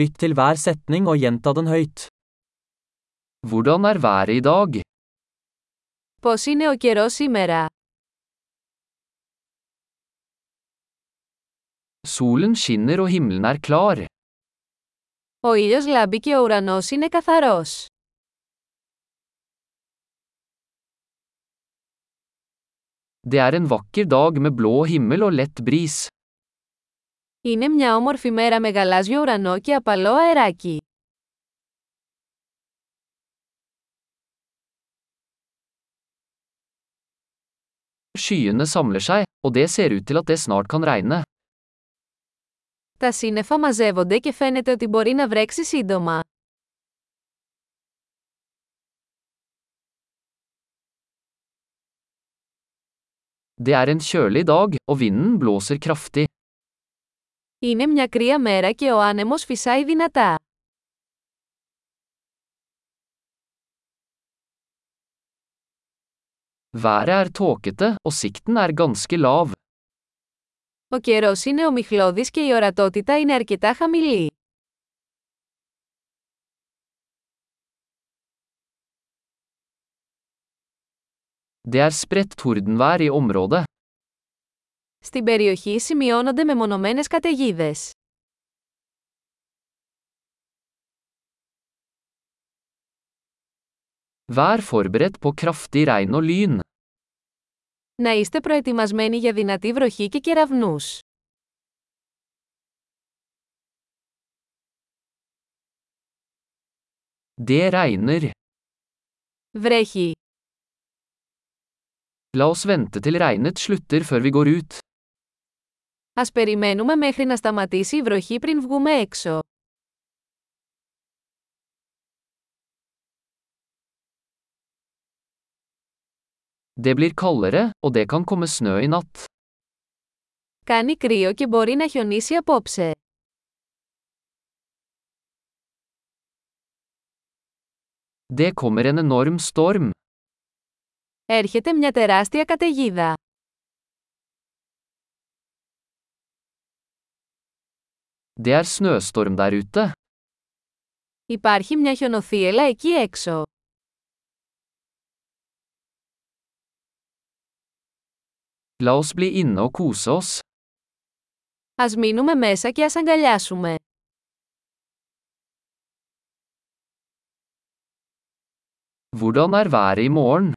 Lytt til hver setning og gjenta den høyt. Hvordan er været i dag? Πώς είναι ο καιρός σήμερα. Solen skinner og himmelen er klar. Ο ήλιος λάμπει και ο ουρανός είναι καθαρός. Det er en vakker dag med blå himmel og lett bris. Είναι μια όμορφη μέρα με γαλάζιο ουρανό και απαλό αεράκι. Skyene samler seg, og det ser ut til at det snart kan regne. Τα σύννεφα μαζεύονται και φαίνεται ότι μπορεί να βρέξει σύντομα. Det er en kjølig dag, og vinden blåser kraftig. Είναι μια κρύα μέρα και ο άνεμος φυσάει δυνατά. Været er tåkete, og sikten er ganske lav. Ο καιρός είναι ομιχλώδης και η ορατότητα είναι αρκετά χαμηλή. Det er spredt tordenvær i området. Στην περιοχή σημειώνονται μεμονωμένες καταιγίδες. Vær forberedt på kraftig regn og lyn. Να είστε προετοιμασμένοι για δυνατή βροχή και κεραυνούς. Det regner. Βρέχει. La oss vente til regnet slutter før vi går ut. Ας περιμένουμε μέχρι να σταματήσει η βροχή πριν βγούμε έξω. Det blir kaldere, og det kan komme snø i natt. Κάνει κρύο και μπορεί να χιονίσει απόψε. Det kommer en enorm storm. Έρχεται μια τεράστια καταιγίδα. Det er snøstorm der ute. Υπάρχει μια χιονοθύελα εκεί έξω. La oss bli inne og kose oss. Ας μείνουμε μέσα και ας αγκαλιάσουμε. Hvordan er været i morgen?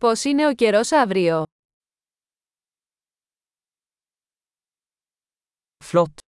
Πώς είναι ο καιρός αύριο. Flott!